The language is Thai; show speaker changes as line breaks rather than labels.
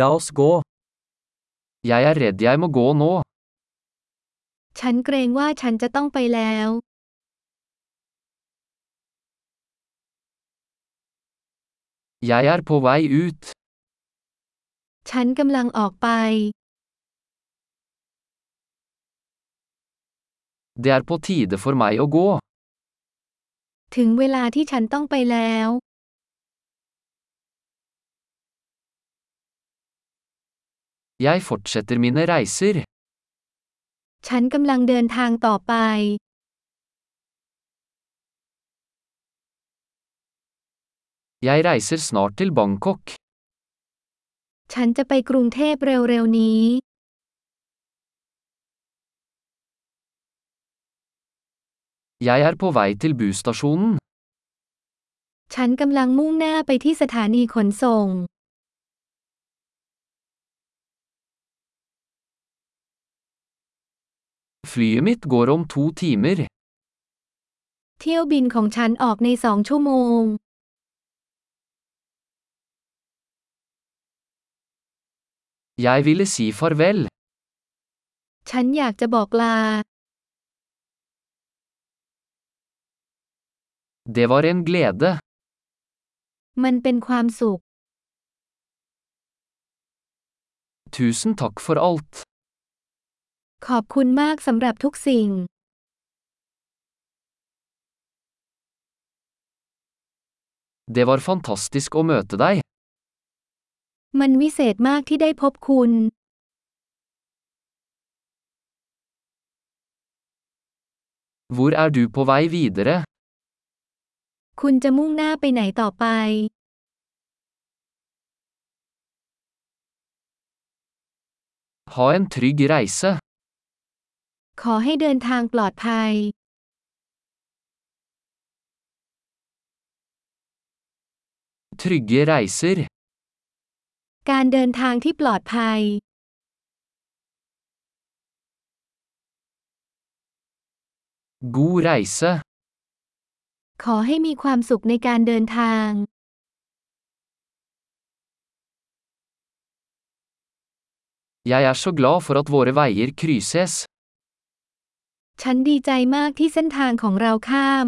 La oss gå. Jeg er redd jeg må gå nå.
ฉันเกรงว่าฉันจะต้องไปแล้ว
Jeg er på vei ut.
ฉันกำลังออกไป
Det er på tide for meg å gå.
ถึงเวลาที่ฉันต้องไปแล้ว
Jeg fortsetter mine reiser.
ฉันกำลังเดินทางต่อไป
Jeg reiser snart til Bangkok.
ฉันจะไปกรุงเทพเร็วๆนี้
Jeg er på vei til busstasjonen.
ฉันกำลังมุ่งหน้าไปที่สถานีขนส่ง
Flyet mitt går om to timer.
เที่ยวบินของฉันออกในสองชั่วโมง
Jeg ville si farvel.
ฉันอยากจะบอกลา
Det var en glede.
มันเป็นความสุข
Tusen takk for alt.
ขอบคุณมากสำหรับทุกสิ่ง
Det var fantastisk å møte deg.
มันวิเศษมากที่ได้พบคุณ
Hvor er du på vei videre?
คุณจะมุ่งหน้าไปไหนต่อไป
Ha en trygg reise.
ขอให้เดินทางปลอดภัย
Trygge reiser.
การเดินทางที่ปลอดภัย
God reise.
ขอให้มีความสุขในการเดินทาง
Jeg er så glad for at våre veier krysses.
ฉันดีใจมากที่เส้นทางของเราข้าม